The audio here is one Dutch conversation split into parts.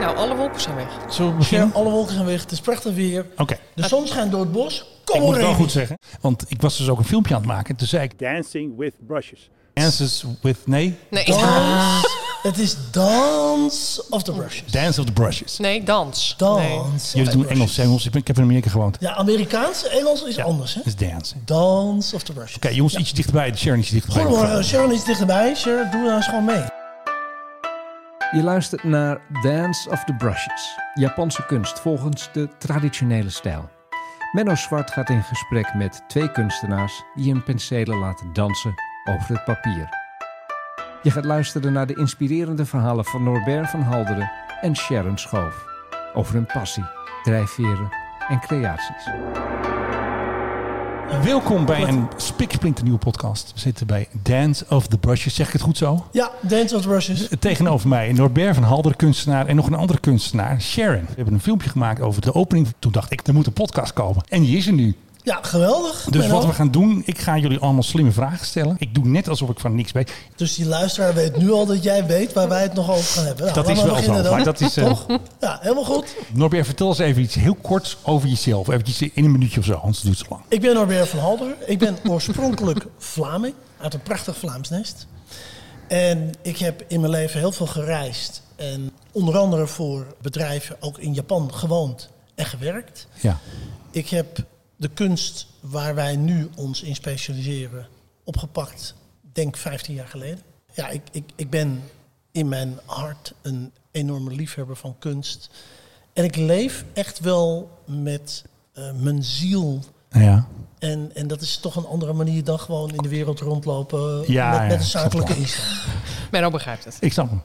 Nou, alle wolken zijn weg. Zullen we Ja, beginnen? alle wolken zijn weg. Het is prachtig weer. Oké. De zon schijnt door het bos. Ik Kom moet het wel maar goed zeggen. Want ik was dus ook een filmpje aan het maken. Toen zei ik dancing with brushes. Dances with... Nee, Nee, Dans. Het is Dance of the Brushes. Dance of the Brushes. nee dans. Nee. Dance. Jullie doen Engels, Engels. Ik, ben, ik heb in Amerika gewoond. Ja, Amerikaans. Engels is Ja, anders, hè? is dance. Oké, Dance of the Brushes. jongens, iets dichterbij. Sharon, iets dichterbij. Goedemorgen, Sharon is dichterbij. Sharon, doe nou eens gewoon mee. Je luistert naar Dance of the Brushes, Japanse kunst volgens de traditionele stijl. Menno Zwart gaat in gesprek met twee kunstenaars die hun penselen laten dansen over het papier. Je gaat luisteren naar de inspirerende verhalen van Norbert van Halderen en Sharon Schoof over hun passie, drijfveren en creaties. Welkom bij een spiksplinternieuwe podcast. We zitten bij Dance of the Brushes. Zeg ik het goed zo? Ja, Dance of the Brushes. Tegenover mij Norbert van Halder, kunstenaar. En nog een andere kunstenaar, Sharon. We hebben een filmpje gemaakt over de opening. Toen dacht ik, er moet een podcast komen. En die is er nu. Ja, geweldig. Dus Menno. wat we gaan doen, ik ga jullie allemaal slimme vragen stellen. Ik doe net alsof ik van niks weet. Dus die luisteraar weet nu al dat jij weet waar wij het nog over gaan hebben. Nou, Dat is laten we wel zo. beginnen Maar dan. dat is, eh, Ja, helemaal goed. Norbert, vertel eens even iets heel kort over jezelf. Even in een minuutje of zo, anders duurt het te lang. Ik ben Norbert van Halder. Ik ben oorspronkelijk Vlaming uit een prachtig Vlaams nest. En ik heb in mijn leven heel veel gereisd. En onder andere voor bedrijven ook in Japan gewoond en gewerkt. Ja. Ik heb de kunst waar wij nu ons in specialiseren opgepakt, denk 15 jaar geleden. Ja, ik, ik, ik ben in mijn hart een enorme liefhebber van kunst. En ik leef echt wel met eh, mijn ziel Nou Ja. en, en dat is toch een andere manier dan gewoon in de wereld rondlopen Ja, met, ja, met een dat zakelijke klopt. instelling. Menno begrijpt het. Ik snap hem.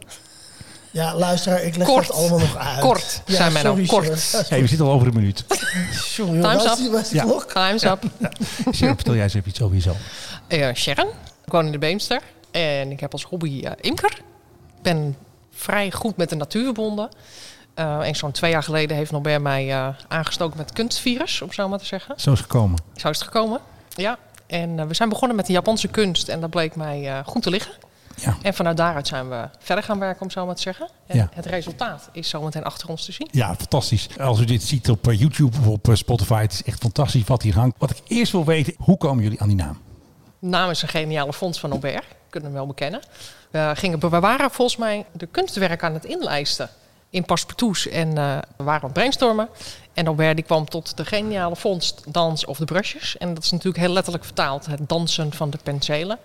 Ja, luisteraar, ik leg Kort. dat allemaal nog uit. Kort, ja, zei men sorry, ook. Kort. Sharon. Hey, we zitten al over een minuut. Sorry, joh, Time's waar is up. die- waar is die Ja. klok? Time's up. Sharon, vertel jij eens even iets over jezelf. Eh, Sharon, ik woon in de Beemster. En ik heb als hobby eh, imker. Ik ben vrij goed met de natuur verbonden. Eh, en zo'n twee jaar geleden heeft Norbert mij eh, aangestoken met het kunstvirus, om zo maar te zeggen. Zo is het gekomen. Zo is het gekomen. Ja. En eh, we zijn begonnen met de Japanse kunst. En dat bleek mij eh, goed te liggen. Ja. En vanuit daaruit zijn we verder gaan werken, om zo maar te zeggen. En Ja. het resultaat is zometeen achter ons te zien. Ja, fantastisch. Als u dit ziet op eh, YouTube of op eh, Spotify, het is echt fantastisch wat hier hangt. Wat ik eerst wil weten, hoe komen jullie aan die naam? namens een geniale fonds van Aubert, kunnen we wel bekennen. We, gingen, we waren volgens mij de kunstwerken aan het inlijsten in Passepartouts en eh, we waren aan het brainstormen. En Aubert die kwam tot de geniale fonds Dans of de Brushes. En dat is natuurlijk heel letterlijk vertaald, het dansen van de penselen.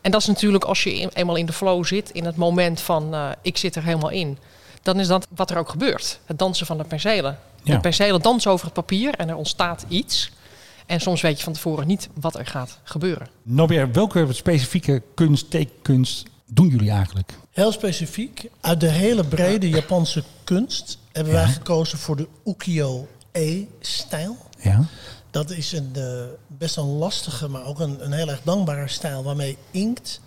En dat is natuurlijk als je in- eenmaal in de flow zit, in het moment van eh, ik zit er helemaal in. Dan is dat wat er ook gebeurt, het dansen van de penselen. Ja. De penselen dansen over het papier en er ontstaat iets. En soms weet je van tevoren niet wat er gaat gebeuren. Norbert, welke specifieke kunst, tekenkunst doen jullie eigenlijk? Heel specifiek, uit de hele brede Japanse kunst hebben wij gekozen voor de Ukiyo-e-stijl. Ja. Dat is een, eh, best een lastige, maar ook een, een heel erg dankbare stijl waarmee inkt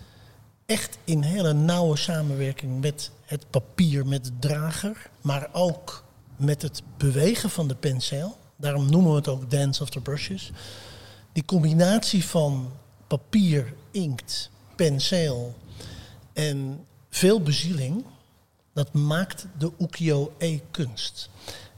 echt in hele nauwe samenwerking met het papier, met de drager, maar ook met het bewegen van de penseel. Daarom noemen we het ook Dance of the Brushes. Die combinatie van papier, inkt, penseel en veel bezieling, dat maakt de ukiyo-e-kunst.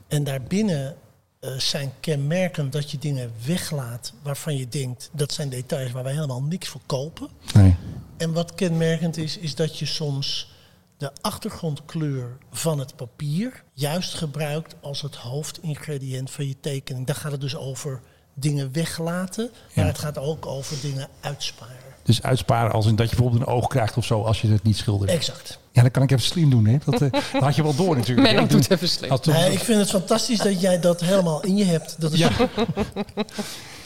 En daarbinnen eh, zijn kenmerkend dat je dingen weglaat waarvan je denkt dat zijn details waar wij helemaal niks voor kopen. Nee. En wat kenmerkend is, is dat je soms de achtergrondkleur van het papier juist gebruikt als het hoofdingrediënt van je tekening. Daar gaat het dus over dingen weglaten, maar Ja. het gaat ook over dingen uitsparen. Dus uitsparen als in dat je bijvoorbeeld een oog krijgt of zo als je het niet schildert. Exact. Ja, dan kan ik even slim doen, hè? Dat, eh, dat had je wel door natuurlijk. Menno Ik doe- doet even slim. Had- Nee, Nou, ik vind het fantastisch dat jij dat helemaal in je hebt. Dat is Ja.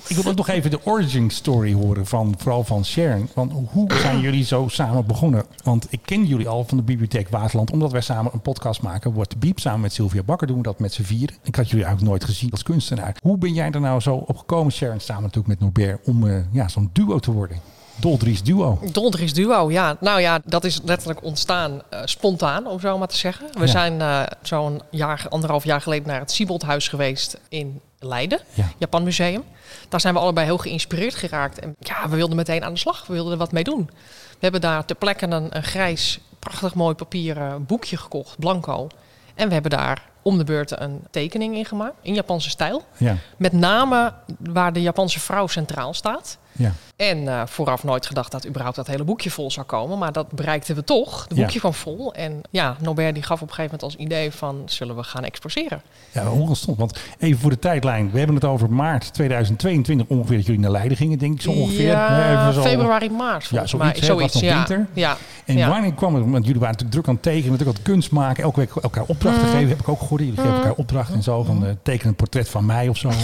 ik wil ook nog even de origin story horen, van, vooral van Sharon. Want hoe zijn jullie zo samen begonnen? Want ik ken jullie al van de Bibliotheek Waterland, omdat wij samen een podcast maken. Wordt de Biep samen met Sylvia Bakker doen we dat met z'n vieren. Ik had jullie eigenlijk nooit gezien als kunstenaar. Hoe ben jij er nou zo op gekomen, Sharon, samen natuurlijk met Norbert, om eh, ja, zo'n duo te worden? Doldries duo. Doldries Duo, ja. Nou ja, dat is letterlijk ontstaan eh, spontaan, om zo maar te zeggen. We Ja. zijn eh, zo'n jaar, anderhalf jaar geleden naar het Sieboldhuis geweest in Leiden, Ja. Japan Museum. Daar zijn we allebei heel geïnspireerd geraakt. En ja, we wilden meteen aan de slag. We wilden er wat mee doen. We hebben daar ter plekke een, een grijs, prachtig mooi papieren boekje eh, gekocht, blanco. En we hebben daar om de beurt een tekening in gemaakt, in Japanse stijl. Ja, Met name waar de Japanse vrouw centraal staat. ja. En eh, vooraf nooit gedacht dat überhaupt dat hele boekje vol zou komen. Maar dat bereikten we toch. Het Ja. boekje kwam vol. En ja, Nobert die gaf op een gegeven moment als idee van... zullen we gaan exposeren? ja hoe ontstond? Want even voor de tijdlijn. We hebben het over maart 2022 ongeveer dat jullie naar Leiden gingen, denk ik zo ongeveer. Hè, Ja, even zo. februari, maart volgens mij. zoiets, hè? Het was nog ja. winter. Ja. En ja. wanneer kwam het? Want jullie waren natuurlijk druk aan het tekenen, natuurlijk aan het kunst maken. Elke week elkaar opdrachten Mm. geven, heb ik ook gehoord. Jullie geven elkaar opdrachten en zo. Van eh, teken een portret van mij of zo.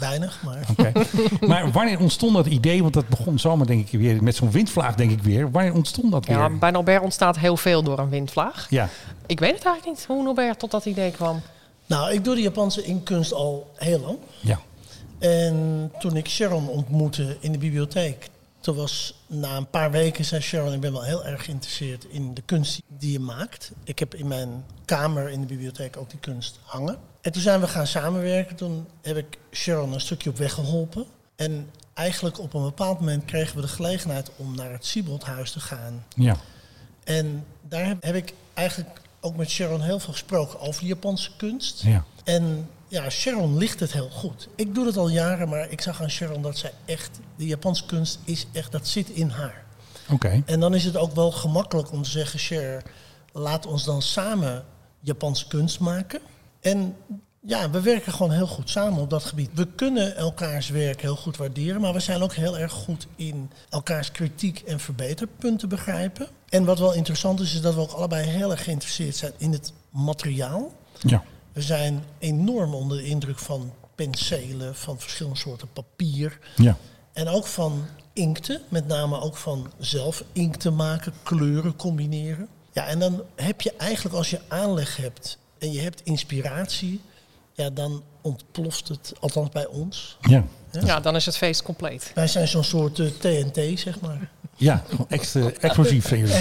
Weinig, maar Oké. maar wanneer ontstond dat idee? Want dat begon zomaar denk ik weer met zo'n windvlaag denk ik weer. Wanneer ontstond dat weer? Ja, bij Nobert ontstaat heel veel door een windvlaag. ja. Ik weet het eigenlijk niet hoe Nobert tot dat idee kwam. Nou, ik doe de Japanse inkunst al heel lang. ja. En toen ik Sharon ontmoette in de bibliotheek, toen was na een paar weken zei Sharon, ik ben wel heel erg geïnteresseerd in de kunst die je maakt. Ik heb in mijn kamer in de bibliotheek ook die kunst hangen. En toen zijn we gaan samenwerken. Toen heb ik Sharon een stukje op weg geholpen. En eigenlijk op een bepaald moment kregen we de gelegenheid om naar het Sieboldhuis te gaan. Ja. En daar heb, heb ik eigenlijk ook met Sharon heel veel gesproken over Japanse kunst. Ja. En ja, Sharon ligt het heel goed. Ik doe het al jaren, maar ik zag aan Sharon dat zij echt... De Japanse kunst is echt, dat zit in haar. Oké. En dan is het ook wel gemakkelijk om te zeggen... Cher, laat ons dan samen Japanse kunst maken. En ja, we werken gewoon heel goed samen op dat gebied. We kunnen elkaars werk heel goed waarderen... maar we zijn ook heel erg goed in elkaars kritiek en verbeterpunten begrijpen. En wat wel interessant is, is dat we ook allebei heel erg geïnteresseerd zijn in het materiaal. Ja. We zijn enorm onder de indruk van penselen, van verschillende soorten papier. Ja. En ook van inkten, met name ook van zelf inkten maken, kleuren combineren. Ja, en dan heb je eigenlijk als je aanleg hebt en je hebt inspiratie, ja, dan ontploft het, althans bij ons. Ja. Ja, dan is het feest compleet. Wij zijn zo'n soort eh, TNT, zeg maar. Ja, gewoon extra explosief. zijn jullie.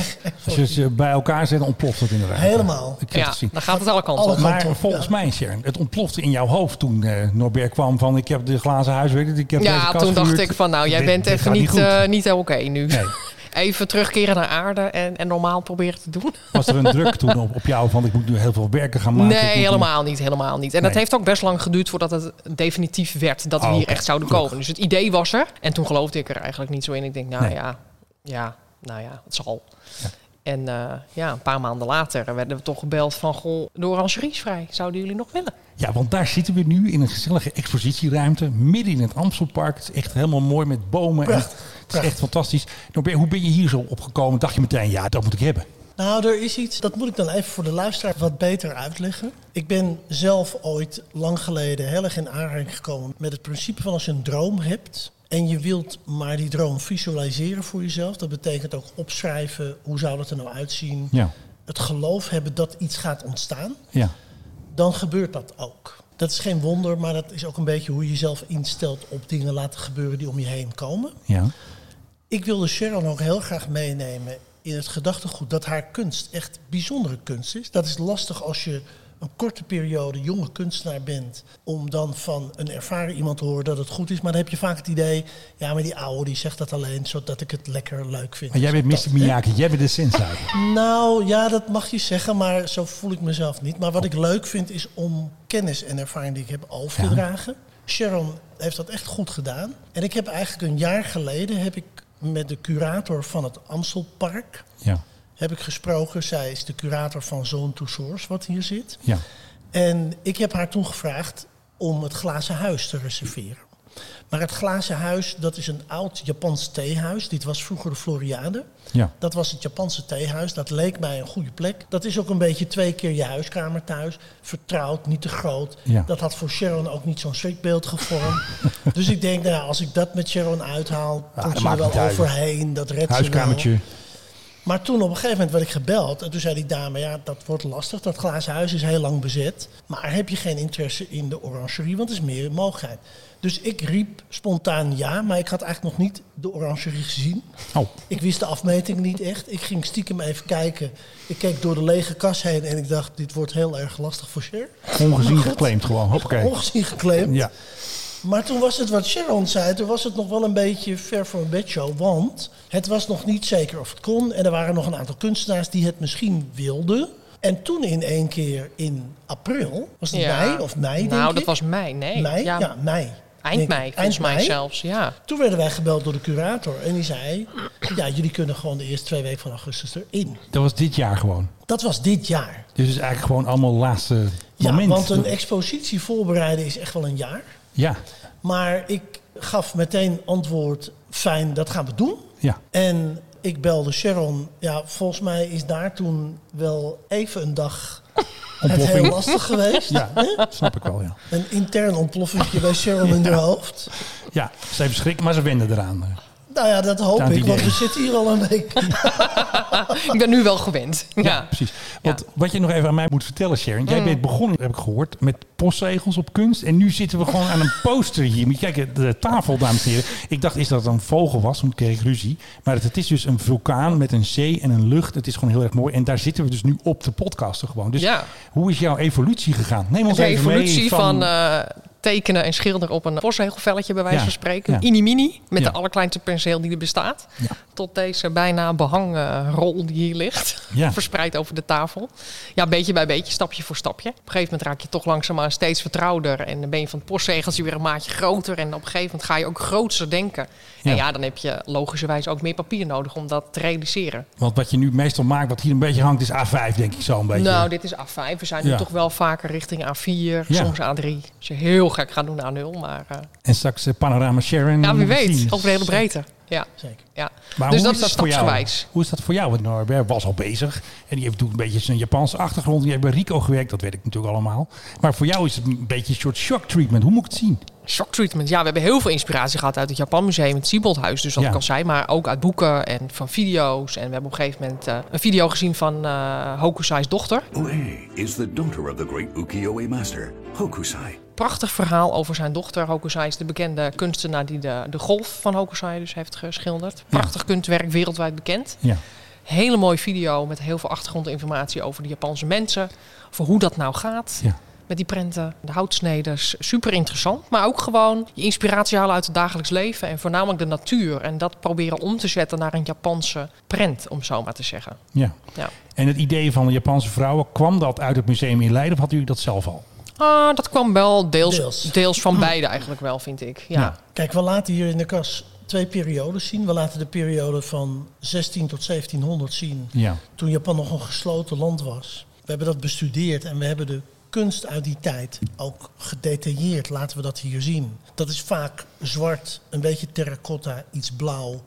Als je ze bij elkaar zet, dan ontploft het inderdaad. Helemaal. Nou, Ik heb Ja, het gezien. dan gaat het alle Oh, kanten Alle op. kanten Maar op, volgens ja. mij, Sharon, het ontplofte in jouw hoofd toen eh, Norbert kwam van ik heb de glazen huiswerk, ik heb deze Ja, kast toen dacht gehuurd. ik van nou, jij Dit- bent dit even gaat niet, goed. eh, niet heel oké nu. Nee, Even terugkeren naar aarde en, en normaal proberen te doen. was er een druk toen op, op jou van ik moet nu heel veel werken gaan maken? ik moet nee, nu- helemaal niet, helemaal niet. En dat Nee. heeft ook best lang geduurd voordat het definitief werd dat we Oh, hier oké. echt zouden Gelukkig. komen. Dus het idee was er. En toen geloofde ik er eigenlijk niet zo in. Ik denk, nou Nee. ja, ja, nou ja, het zal. Ja. En eh, ja, een paar maanden later werden we toch gebeld van... Goh, de orangerie is vrij. Zouden jullie nog willen? Ja, want daar zitten we nu in een gezellige expositieruimte midden in het Amstelpark. Het is echt helemaal mooi met bomen. en Prachtig, het is echt fantastisch. Norbert, hoe ben je hier zo opgekomen? Dacht je meteen, ja, dat moet ik hebben. Nou, er is iets, dat moet ik dan even voor de luisteraar wat beter uitleggen. Ik ben zelf ooit lang geleden heel erg in aanraking gekomen met het principe van als je een droom hebt en je wilt maar die droom visualiseren voor jezelf. Dat betekent ook opschrijven, hoe zou dat er nou uitzien? Ja, Het geloof hebben dat iets gaat ontstaan, ja, dan gebeurt dat ook. Dat is geen wonder, maar dat is ook een beetje hoe je jezelf instelt op dingen laten gebeuren die om je heen komen. ja. Ik wilde Sharon ook heel graag meenemen in het gedachtegoed dat haar kunst echt bijzondere kunst is. Dat is lastig als je een korte periode jonge kunstenaar bent, om dan van een ervaren iemand te horen dat het goed is. Maar dan heb je vaak het idee, ja, maar die oude die zegt dat alleen zodat ik het lekker leuk vind. Dus Maar jij bent Dat, Mr. Miyagi, jij bent de sensei. nou ja, dat mag je zeggen, maar zo voel ik mezelf niet. Maar wat ik leuk vind is om kennis en ervaring die ik heb over te Ja. dragen. Sharon heeft dat echt goed gedaan. En ik heb eigenlijk een jaar geleden heb ik met de curator van het Amstelpark Ja, heb ik gesproken. Zij is de curator van Zone to Source, wat hier zit. ja. En ik heb haar toen gevraagd om het glazen huis te reserveren. Maar het glazen huis, dat is een oud Japans theehuis. Dit was vroeger de Floriade. Ja, Dat was het Japanse theehuis. Dat leek mij een goede plek. Dat is ook een beetje twee keer je huiskamer thuis. Vertrouwd, niet te groot. Ja. Dat had voor Sharon ook niet zo'n schrikbeeld gevormd. dus ik denk, nou, ja, als ik dat met Sharon uithaal, Ah, dat komt ze maakt er wel niet uit. overheen. Dat redt ze wel. huiskamertje. Maar toen op een gegeven moment werd ik gebeld. En toen zei die dame, ja, dat wordt lastig. Dat glazen huis is heel lang bezet. Maar heb je geen interesse in de orangerie? Want er is meer mogelijkheid. Dus ik riep spontaan ja, maar ik had eigenlijk nog niet de orangerie gezien. Oh, Ik wist de afmeting niet echt. Ik ging stiekem even kijken. Ik keek door de lege kas heen en ik dacht, dit wordt heel erg lastig voor Cher. ongezien geclaimd gewoon. Hoppakee. Ongezien geclaimd. Ja, Maar toen was het wat Sharon zei, toen was het nog wel een beetje ver voor een bedshow. Want het was nog niet zeker of het kon. En er waren nog een aantal kunstenaars die het misschien wilden. En toen in één keer in april, was het Ja. mei of mei denk nou, ik? dat was mei. Nee. mei. Ja, mei. Eind denk mei, ik. volgens Eind mij mei. zelfs. Ja. Toen werden wij gebeld door de curator en die zei, ja, jullie kunnen gewoon de eerste twee weken van augustus erin. Dat was dit jaar gewoon. Dat was dit jaar. Dus het is eigenlijk gewoon allemaal laatste Ja, moment. want een expositie voorbereiden is echt wel een jaar. ja, Maar ik gaf meteen antwoord, fijn, dat gaan we doen. ja. En ik belde Sharon. Ja, volgens mij is daar toen wel even een dag het heel Ontploffing. lastig geweest. Ja, snap ik wel, ja. Een intern ontploffingje bij Sharon in haar hoofd. Ja, ze heeft schrik, maar ze wenden eraan. Nou ja, dat hoop Ja, die ik, want idee. we zitten hier al een week. Ik ben nu wel gewend. Ja. Mm. Precies. Want wat je nog even aan mij moet vertellen, Sharon. Jij bent begonnen, heb ik gehoord, met postzegels op kunst. En nu zitten we gewoon aan een poster hier. Moet je kijken, de tafel, dames en heren. Ik dacht is dat het een vogel was, toen kreeg ik ruzie. Maar het, het is dus een vulkaan met een zee en een lucht. Het is gewoon heel erg mooi. En daar zitten we dus nu op te podcasten gewoon. Dus Ja. hoe is jouw evolutie gegaan? Neem ons De even mee evolutie van... van, eh, tekenen en schilderen op een postzegelvelletje bij wijze Ja, van spreken. ja. Inimini, met Ja. de allerkleinste penseel die er bestaat. Ja. Tot deze bijna behangrol die hier ligt. Ja. Verspreid over de tafel. Ja, beetje bij beetje, stapje voor stapje. Op een gegeven moment raak je toch langzaamaan steeds vertrouwder. En dan ben je van het postzegeltje weer een maatje groter. En op een gegeven moment ga je ook grootser denken. Ja. En ja, dan heb je logischerwijs ook meer papier nodig om dat te realiseren. Want wat je nu meestal maakt, wat hier een beetje hangt, is A5, denk ik zo een beetje. Nou, dit is A5. We zijn Ja. nu toch wel vaker richting A4, Ja. soms A3. Als je heel gek gaat doen A0, maar eh, En straks eh, Panorama Sharon. ja, wie weet, Zien. over de hele breedte. Ja, Zeker. ja. Maar dus hoe dat is is, dat voor jou? stapsgewijs. Hoe is dat voor jou? Want Norbert was al bezig. En die heeft toen een beetje zijn Japanse achtergrond. Die heeft bij Rico gewerkt, dat weet ik natuurlijk allemaal. Maar voor jou is het een beetje een soort shock treatment. Hoe moet ik het zien? Shock treatment. Ja, we hebben heel veel inspiratie gehad uit het Japan Museum, het Sieboldhuis, dus wat Ja. ik al zei. Maar ook uit boeken en van video's. En we hebben op een gegeven moment eh, een video gezien van eh Hokusai's dochter. Oe is the daughter of the great ukiyo-e master, Hokusai. Prachtig verhaal over zijn dochter. Hokusai is de bekende kunstenaar die de, de golf van Hokusai dus heeft geschilderd. Prachtig kunstwerk, wereldwijd bekend. Ja. Hele mooie video met heel veel achtergrondinformatie over de Japanse mensen. Over hoe dat nou gaat. Ja. Met die prenten, de houtsneders. Super interessant. Maar ook gewoon je inspiratie halen uit het dagelijks leven. En voornamelijk de natuur. En dat proberen om te zetten naar een Japanse prent, om zo maar te zeggen. ja. Ja. En het idee van de Japanse vrouwen, kwam dat uit het museum in Leiden of had u dat zelf al? Ah, dat kwam wel deels, Deels. deels. Mm. van beide eigenlijk wel, vind ik. Ja. Oh, Ja. Kijk, we laten hier in de kas twee periodes zien. We laten de periode van 16 tot 1700 zien. Ja. Toen Japan nog een gesloten land was. We hebben dat bestudeerd en we hebben de kunst uit die tijd ook gedetailleerd. Laten we dat hier zien. Dat is vaak zwart, een beetje terracotta, iets blauw.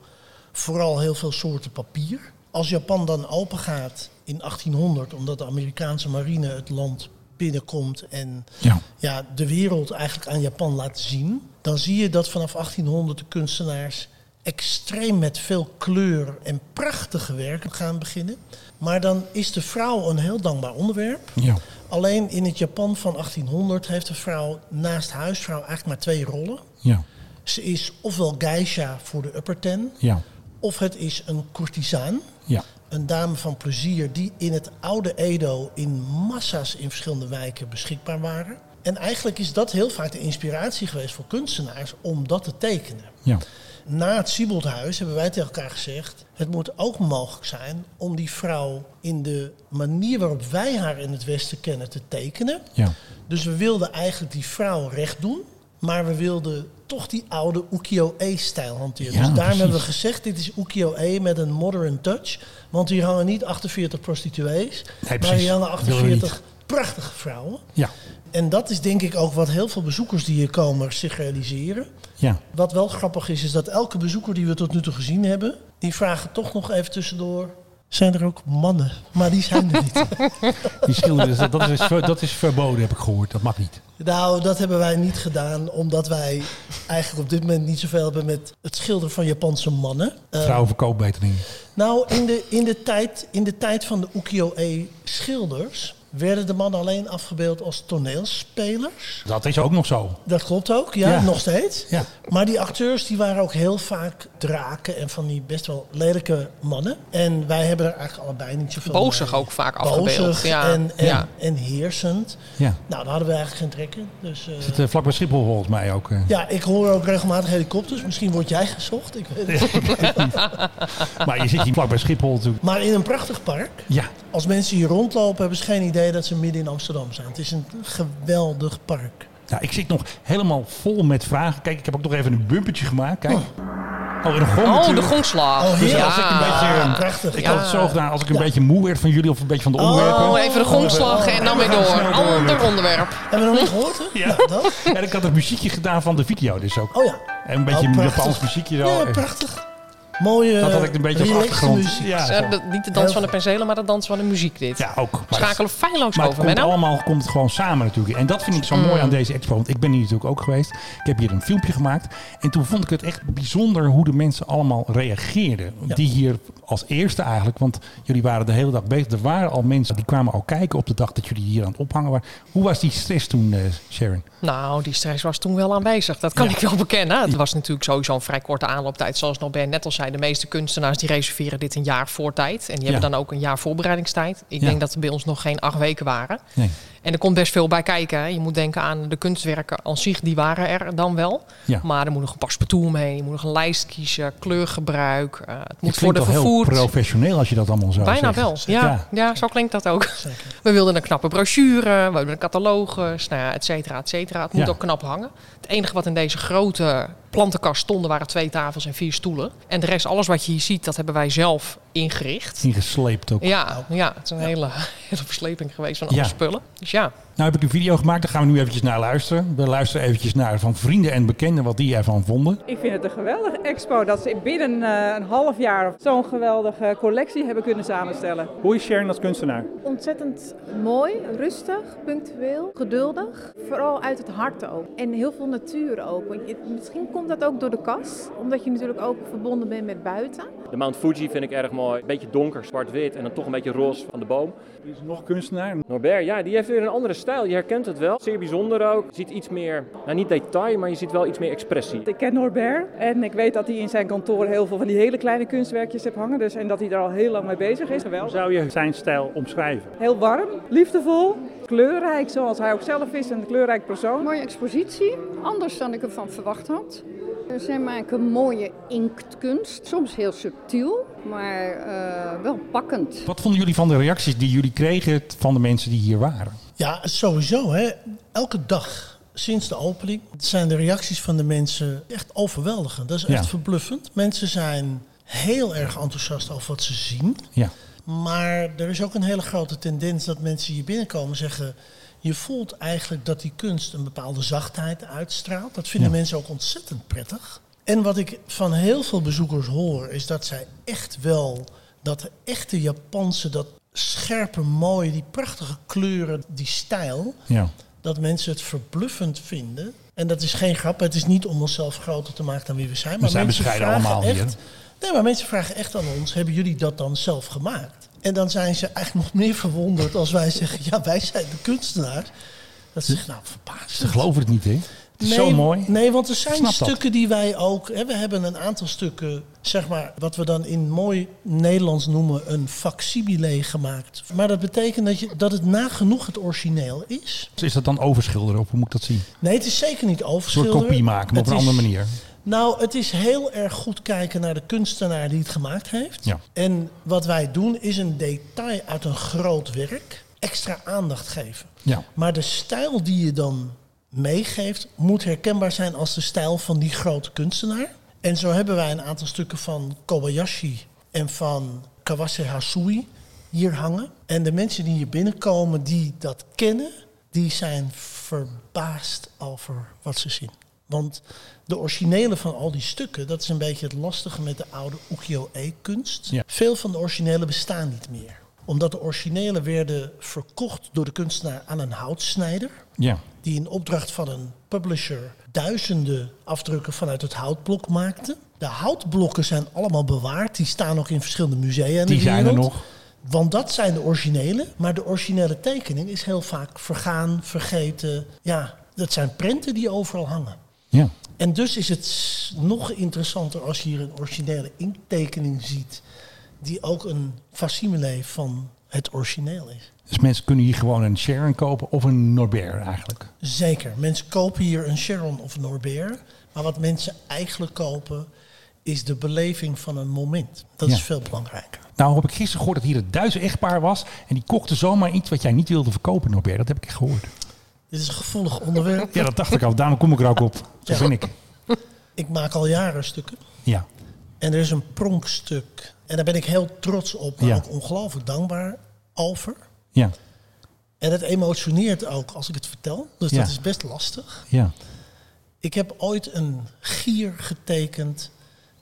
Vooral heel veel soorten papier. Als Japan dan open gaat in 1800, omdat de Amerikaanse marine het land binnenkomt en Ja. ja, de wereld eigenlijk aan Japan laten zien, dan zie je dat vanaf 1800 de kunstenaars extreem met veel kleur en prachtige werken gaan beginnen. Maar dan is de vrouw een heel dankbaar onderwerp. Ja. Alleen in het Japan van 1800 heeft de vrouw naast huisvrouw eigenlijk maar twee rollen. Ja. Ze is ofwel geisha voor de upper ten, Ja. of het is een courtisaan. Ja. Een dame van plezier die in het oude Edo in massa's in verschillende wijken beschikbaar waren. En eigenlijk is dat heel vaak de inspiratie geweest voor kunstenaars om dat te tekenen. Ja. Na het Sieboldhuis hebben wij tegen elkaar gezegd: het moet ook mogelijk zijn om die vrouw in de manier waarop wij haar in het Westen kennen te tekenen. Ja. Dus we wilden eigenlijk die vrouw recht doen, maar we wilden toch die oude ukiyo-e-stijl hanteren. Ja, dus daarom precies. hebben we gezegd, dit is ukiyo-e met een modern touch. Want hier hangen niet 48 prostituees, maar precies. hier hangen Dat willen we niet. 48 prachtige vrouwen. Ja. En dat is denk ik ook wat heel veel bezoekers die hier komen zich realiseren. Ja. Wat wel grappig is, is dat elke bezoeker die we tot nu toe gezien hebben, die vragen toch nog even tussendoor... Zijn er ook mannen? Maar die zijn er niet. Die schilderen, dat is, dat is verboden, heb ik gehoord. Dat mag niet. Nou, dat hebben wij niet gedaan, omdat wij eigenlijk op dit moment niet zoveel hebben met het schilderen van Japanse mannen. Eh, Vrouwen verkoop beter niet. nou, in de, in, de tijd, in de tijd van de ukiyo-e schilders werden de mannen alleen afgebeeld als toneelspelers. Dat is ook nog zo. Dat klopt ook, ja, Ja. nog steeds. Ja. Maar die acteurs die waren ook heel vaak draken en van die best wel lelijke mannen. En wij hebben er eigenlijk allebei niet zoveel Bozig mee. ook vaak Bozig afgebeeld. Ja, en, en, ja. en heersend. Ja. Nou, daar hadden we eigenlijk geen trekken. Dus, eh, Zit eh, vlak bij Schiphol volgens mij ook. eh. ja, ik hoor ook regelmatig helikopters. Misschien word jij gezocht. Ik weet het. Maar je zit hier vlak bij Schiphol natuurlijk. Maar in een prachtig park. Ja, Als mensen hier rondlopen, hebben ze geen idee dat ze midden in Amsterdam zijn. Het is een geweldig park. nou, ik zit nog helemaal vol met vragen. Kijk, ik heb ook nog even een bumpertje gemaakt. Kijk. Oh, en een gong Oh, de natuurlijk. gongslag. Oh, heerlijk. Dus ja. als ik een beetje... eh, Prachtig. Ik Ja. had het zo gedaan, als ik een beetje moe werd van jullie of een beetje van de onderwerpen. Oh, even de gongslag en dan weer door. Ander onderwerp. Hebben we nog niet gehoord? Hè? Ja. Nou, dat. En ik had het muziekje gedaan van de video dus ook. Oh ja. En een beetje Oh, prachtig. Japans muziekje zo. Ja, prachtig. Mooie, Dat had ik een beetje als relaxte achtergrond. muziek. Ja, Ah, zo. Eh, de- niet de dans van de penselen, maar de dans van de muziek dit. ja, ook. Maar dat- Schakelen feilloos Maar het over, komt Menno. Mm. allemaal komt het gewoon samen natuurlijk. En dat vind ik zo mooi aan deze expo. Want ik ben hier natuurlijk ook geweest. Ik heb hier een filmpje gemaakt. En toen vond ik het echt bijzonder hoe de mensen allemaal reageerden. Die hier als eerste eigenlijk. Want jullie waren de hele dag bezig. Er waren al mensen die kwamen al kijken op de dag dat jullie hier aan het ophangen waren. Hoe was die stress toen, eh, Sharon? Nou, die stress was toen wel aanwezig. Dat kan Ja. ik wel bekennen. Het was natuurlijk sowieso een vrij korte aanlooptijd. Zoals Norbert net al zei, de meeste kunstenaars die reserveren dit een jaar voor tijd. En die hebben Ja. dan ook een jaar voorbereidingstijd. Ik Ja. denk dat er bij ons nog geen acht weken waren. Nee. En er komt best veel bij kijken. Hè. Je moet denken aan de kunstwerken aan zich, die waren er dan wel. Ja. Maar er moet nog een paspoort omheen, je moet nog een lijst kiezen, kleurgebruik. eh, het moet Het klinkt worden toch heel vervoerd. professioneel als je dat allemaal zo Bijna zegt. wel, ja, ja. zo klinkt dat ook. We wilden een knappe brochure, we wilden catalogus, nou ja, et cetera, et cetera. Het moet Ja. ook knap hangen. Het enige wat in deze grote plantenkast stonden waren twee tafels en vier stoelen. En de rest, alles wat je hier ziet, dat hebben wij zelf ingericht. Ingesleept ook. Ja, ja het is een hele, hele versleping geweest van alle Ja. spullen. Dus ja, Nou heb ik een video gemaakt, daar gaan we nu eventjes naar luisteren. We luisteren eventjes naar van vrienden en bekenden wat die ervan vonden. Ik vind het een geweldige expo dat ze binnen eh, een half jaar zo'n geweldige collectie hebben kunnen samenstellen. Hoe is Sharon als kunstenaar? Ontzettend mooi, rustig, punctueel, geduldig. Vooral uit het hart ook. En heel veel natuur ook. Want je- Misschien komt dat ook door de kas, omdat je natuurlijk ook verbonden bent met buiten. De Mount Fuji vind ik erg mooi. Een beetje donker, zwart-wit en dan toch een beetje roze van de boom. Er is nog een kunstenaar. Norbert, ja, die heeft weer een andere stijl. Je herkent het wel. Zeer bijzonder ook. Je ziet iets meer, nou niet detail, maar je ziet wel iets meer expressie. Ik ken Norbert en ik weet dat hij in zijn kantoor heel veel van die hele kleine kunstwerkjes heeft hangen. Dus, en dat hij daar al heel lang mee bezig is. Geweldig. Zou je zijn stijl omschrijven? Heel warm, liefdevol, kleurrijk zoals hij ook zelf is. Een kleurrijk persoon. Mooie expositie, anders dan ik ervan verwacht had. Eh, Zij maken mooie inktkunst, soms heel subtiel, maar eh, wel pakkend. Wat vonden jullie van de reacties die jullie kregen van de mensen die hier waren? Ja, sowieso. Hè. Elke dag sinds de opening zijn de reacties van de mensen echt overweldigend. Dat is echt Ja. verbluffend. Mensen zijn heel erg enthousiast over wat ze zien. Ja. Maar er is ook een hele grote tendens dat mensen hier binnenkomen en zeggen... Je voelt eigenlijk dat die kunst een bepaalde zachtheid uitstraalt. Dat vinden Ja. mensen ook ontzettend prettig. En wat ik van heel veel bezoekers hoor, is dat zij echt wel dat echte Japanse, dat scherpe, mooie, die prachtige kleuren, die stijl, ja. dat mensen het verbluffend vinden. En dat is geen grap, het is niet om onszelf groter te maken dan wie we zijn. Maar zijn mensen bescheiden vragen allemaal hier, echt, Nee, maar mensen vragen echt aan ons, hebben jullie dat dan zelf gemaakt? En dan zijn ze eigenlijk nog meer verwonderd als wij zeggen, ja, wij zijn de kunstenaar. Dat ze zich nou verbaasd. Ze geloven het niet, hè? Het is zo mooi. Nee, want er snap zijn dat. stukken die wij ook... Hè, we hebben een aantal stukken, zeg maar, wat we dan in mooi Nederlands noemen... een facsimile gemaakt. Maar dat betekent dat, je, dat het nagenoeg het origineel is. Dus is dat dan overschilderen of hoe moet ik dat zien? Een Nee, het is zeker niet soort overschilderen. kopie maken, maar op Het een andere is- manier. Nou, het is heel erg goed kijken naar de kunstenaar die het gemaakt heeft. Ja. En wat wij doen is een detail uit een groot werk extra aandacht geven. Ja. Maar de stijl die je dan meegeeft moet herkenbaar zijn als de stijl van die grote kunstenaar. En zo hebben wij een aantal stukken van Kobayashi en van Kawase Hasui hier hangen. En de mensen die hier binnenkomen die dat kennen, die zijn verbaasd over wat ze zien. Want de originele van al die stukken, dat is een beetje het lastige met de oude ukiyo-e-kunst. Ja. Veel van de originele bestaan niet meer. Omdat de originele werden verkocht door de kunstenaar aan een houtsnijder. Ja. Die in opdracht van een publisher duizenden afdrukken vanuit het houtblok maakte. De houtblokken zijn allemaal bewaard. Die staan ook in verschillende musea in Die de zijn er wereld. nog. Want dat zijn de originele, maar de originele tekening is heel vaak vergaan, vergeten. Ja, dat zijn prenten die overal hangen. Ja. En dus is het s- nog interessanter als je hier een originele inktekening ziet, die ook een facsimile van het origineel is. Dus mensen kunnen hier gewoon een Sharon kopen of een Norbert eigenlijk. Zeker. Mensen kopen hier een Sharon of een Norbert. Maar wat mensen eigenlijk kopen is de beleving van een moment. Dat Ja. is veel belangrijker. Nou heb ik gisteren gehoord dat hier het Duitse echtpaar was. En die kochten zomaar iets wat jij niet wilde verkopen, Norbert. Dat heb ik echt gehoord. Dit is een gevoelig onderwerp. Ja, dat dacht ik al. Daarom kom ik er ook op. Zo Ja. ben ik. Ik maak al jaren stukken. Ja. En er is een pronkstuk. En daar ben ik heel trots op, maar Ja. ook ongelooflijk dankbaar over. Ja. En het emotioneert ook als ik het vertel. Dus Ja. dat is best lastig. Ja. Ik heb ooit een gier getekend.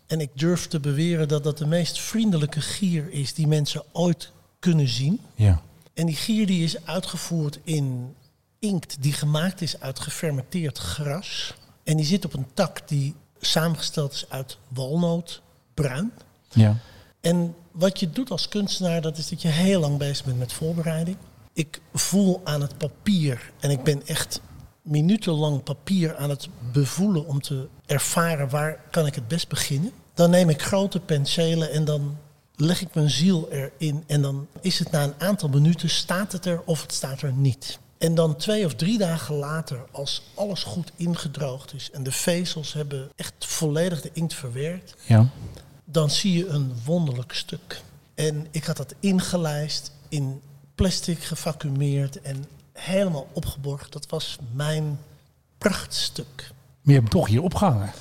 En ik durf te beweren dat dat de meest vriendelijke gier is die mensen ooit kunnen zien. Ja. En die gier die is uitgevoerd in inkt die gemaakt is uit gefermenteerd gras. En die zit op een tak die samengesteld is uit walnoot, bruin. Ja. En wat je doet als kunstenaar, dat is dat je heel lang bezig bent met voorbereiding. Ik voel aan het papier en ik ben echt minutenlang papier aan het bevoelen om te ervaren waar kan ik het best beginnen. Dan neem ik grote penselen en dan leg ik mijn ziel erin en dan is het na een aantal minuten staat het er of het staat er niet. En dan twee of drie dagen later, als alles goed ingedroogd is en de vezels hebben echt volledig de inkt verwerkt, Ja. dan zie je een wonderlijk stuk. En ik had dat ingelijst, in plastic gevacumeerd en helemaal opgeborgen. Dat was mijn prachtstuk. Maar je hebt hem toch hier opgehangen.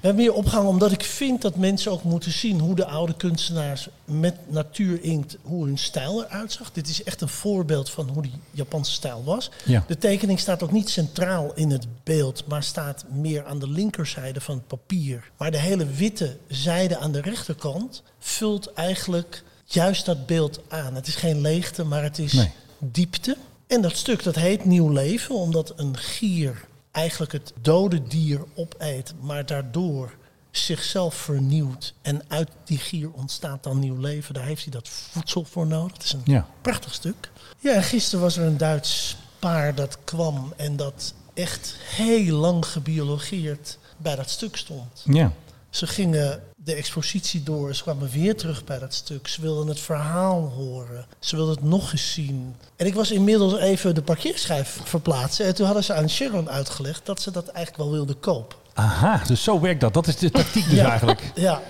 We hebben hier opgehangen omdat ik vind dat mensen ook moeten zien hoe de oude kunstenaars met natuurinkt, hoe hun stijl eruit zag. Dit is echt een voorbeeld van hoe die Japanse stijl was. Dus Ja. De tekening staat ook niet centraal in het beeld, maar staat meer aan de linkerzijde van het papier. Maar de hele witte zijde aan de rechterkant vult eigenlijk juist dat beeld aan. Het is geen leegte, maar het is Nee. diepte. En dat stuk dat heet Nieuw Leven, omdat een gier eigenlijk het dode dier opeet, maar daardoor zichzelf vernieuwt. En uit die gier ontstaat dan nieuw leven. Daar heeft hij dat voedsel voor nodig. Het is een Ja. prachtig stuk. Ja, en gisteren was er een Duits paar dat kwam en dat echt heel lang gebiologeerd bij dat stuk stond. Ja. Ze gingen de expositie door, ze kwamen weer terug bij dat stuk. Ze wilden het verhaal horen, ze wilden het nog eens zien. En ik was inmiddels even de parkeerschijf verplaatsen. En toen hadden ze aan Sharon uitgelegd dat ze dat eigenlijk wel wilden kopen. Aha, dus zo werkt dat. Dat is de tactiek dus Ja. eigenlijk. Ja.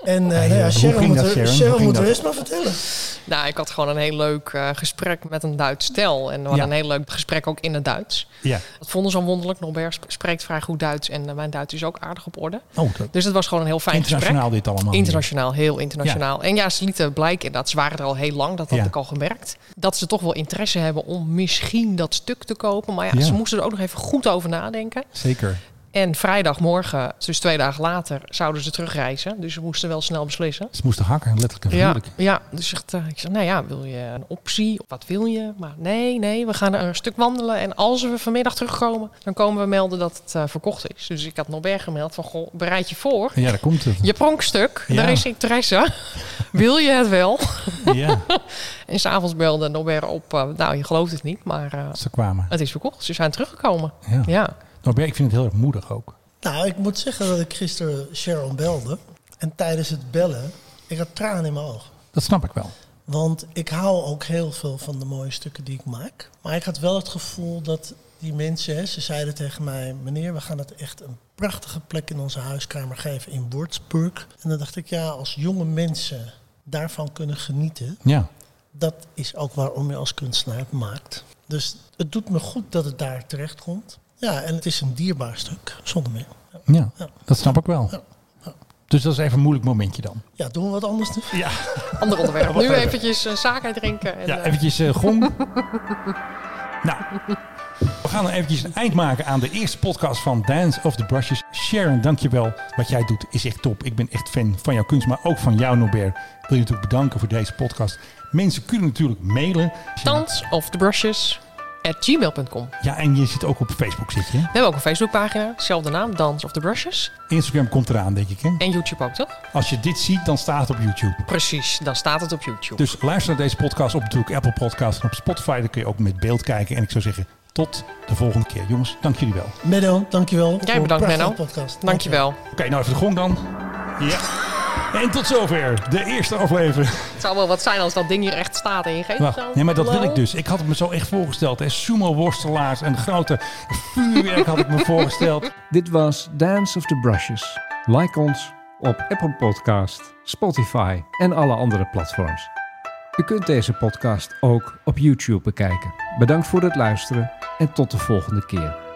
En eh, ja, nou ja, hoe Sharon ging moet dat, er- Sharon? Hoe Sharon ging moet de dat? rest maar vertellen. Nou, ik had gewoon een heel leuk eh, gesprek met een Duits stel. En we hadden Ja. een heel leuk gesprek ook in het Duits. Ja. Dat vonden ze al wonderlijk. Norbert sp- spreekt vrij goed Duits en eh, mijn Duits is ook aardig op orde. Oh, dat- Dus het was gewoon een heel fijn internationaal gesprek. dit allemaal. Internationaal, heel internationaal. En ja, ze lieten blijken, dat ze waren er al heel lang, dat had Ja. ik al gemerkt. Dat ze toch wel interesse hebben om misschien dat stuk te kopen. Maar ja, Ja. ze moesten er ook nog even goed over nadenken. Zeker. En vrijdagmorgen, dus twee dagen later, zouden ze terugreizen. Dus ze moesten wel snel beslissen. Ze moesten hakken, letterlijk en Ja, figuurlijk. ja, dus zegt, eh, ik zeg, nou ja, wil je een optie? Wat wil je? Maar nee, nee, we gaan een stuk wandelen. En als we vanmiddag terugkomen, dan komen we melden dat het eh, verkocht is. Dus ik had Norbert gemeld van, goh, bereid je voor. Ja, daar komt het. Je pronkstuk, Ja. daar is interesse. wil je het wel? Ja, En s'avonds belde Norbert op, eh, nou, je gelooft het niet, maar eh, ze kwamen. het is verkocht. Ze zijn teruggekomen. Ja. Ja, Norbert, ik vind het heel erg moedig ook. Nou, ik moet zeggen dat ik gisteren Sharon belde. En tijdens het bellen, ik had tranen in mijn ogen. Dat snap ik wel. Want ik hou ook heel veel van de mooie stukken die ik maak. Maar ik had wel het gevoel dat die mensen, hè, ze zeiden tegen mij... meneer, we gaan het echt een prachtige plek in onze huiskamer geven in Würzburg. En dan dacht ik, ja, als jonge mensen daarvan kunnen genieten... Ja. dat is ook waarom je als kunstenaar het maakt. Dus het doet me goed dat het daar terecht komt. Ja, en het is een dierbaar stuk, zonder meer. Ja, Ja. dat snap ik wel. Ja. Dus dat is even een moeilijk momentje dan. Ja, doen we wat anders nu? ander onderwerp. Wacht Nu even. eventjes eh, zaken drinken. En, Ja, eh, eventjes eh gom. nou, we gaan dan eventjes een eind maken aan de eerste podcast van Dance of the Brushes. Sharon, dankjewel. Wat jij doet is echt top. Ik ben echt fan van jouw kunst, maar ook van jou, Norbert. Ik wil je natuurlijk bedanken voor deze podcast. Mensen kunnen natuurlijk mailen. Tans of de brushes. gmail.com. Ja, en je zit ook op Facebook, zit je? We hebben ook een Facebookpagina, zelfde naam, Dance of the Brushes. Instagram komt eraan, denk ik, hè? En YouTube ook, toch? Als je dit ziet, dan staat het op YouTube. Precies, dan staat het op YouTube. Dus luister naar deze podcast op natuurlijk Apple Podcast en op Spotify. Dan kun je ook met beeld kijken. En ik zou zeggen, tot de volgende keer. Jongens, dank jullie wel. Menno, dankjewel. Jij bedankt, Menno. podcast. Dankjewel. Oké, nou even de gong dan. Ja. En tot zover de eerste aflevering. Het zou wel wat zijn als dat ding hier echt staat en je geeft Wacht, zo. nee, maar dat wil Hallo? ik dus. Ik had het me zo echt voorgesteld. hè. Sumo-worstelaars en grote vuurwerk had ik me voorgesteld. Dit was Dance of the Brushes. Like ons op Apple Podcast, Spotify en alle andere platforms. U kunt deze podcast ook op YouTube bekijken. Bedankt voor het luisteren en tot de volgende keer.